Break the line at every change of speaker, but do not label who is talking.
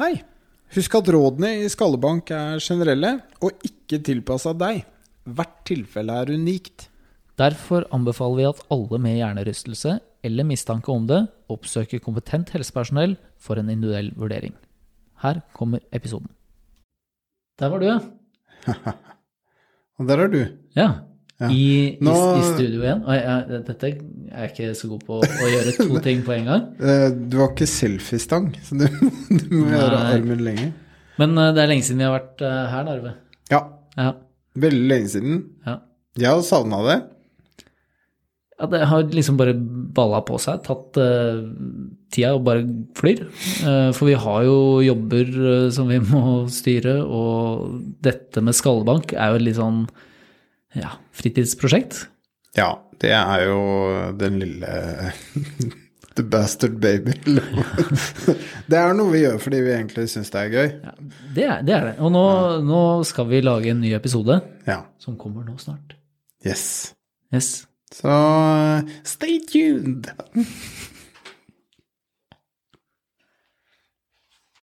Hei! Husk at rådene i Skallebank er generelle og ikke tilpassa deg. Hvert tilfelle er unikt.
Derfor anbefaler vi at alle med hjernerystelse eller mistanke om det oppsøker kompetent helsepersonell for en individuell vurdering. Her kommer episoden. Der var du, ja.
Og der er du.
ja.
Ja.
I, i,
Nå-
I studio igjen. Og jeg, jeg, dette er jeg ikke så god på å gjøre to ting på en gang.
Eh, Du har ikke selfiestang, så du, du må gjøre
Nei.
armen lenger.
Men eh, det er lenge siden vi har vært eh, her, Narve.
Ja,
Ja,
veldig lenge siden.
ja.
Jeg har savna det.
ja, det har liksom bare balla på seg, tatt eh, tida og bare flyr. Eh, for vi har jo jobber eh, som vi må styre, og dette med Skallebank er jo et litt sånn ja, fritidsprosjekt.
Ja, det er jo den lille The bastard baby. eller hva. det er noe vi gjør fordi vi egentlig syns det er gøy.
Det er det. Er det. Og nå, nå skal vi lage en ny episode,
Ja.
som kommer nå snart.
Yes.
Yes.
Så eh, stay tuned!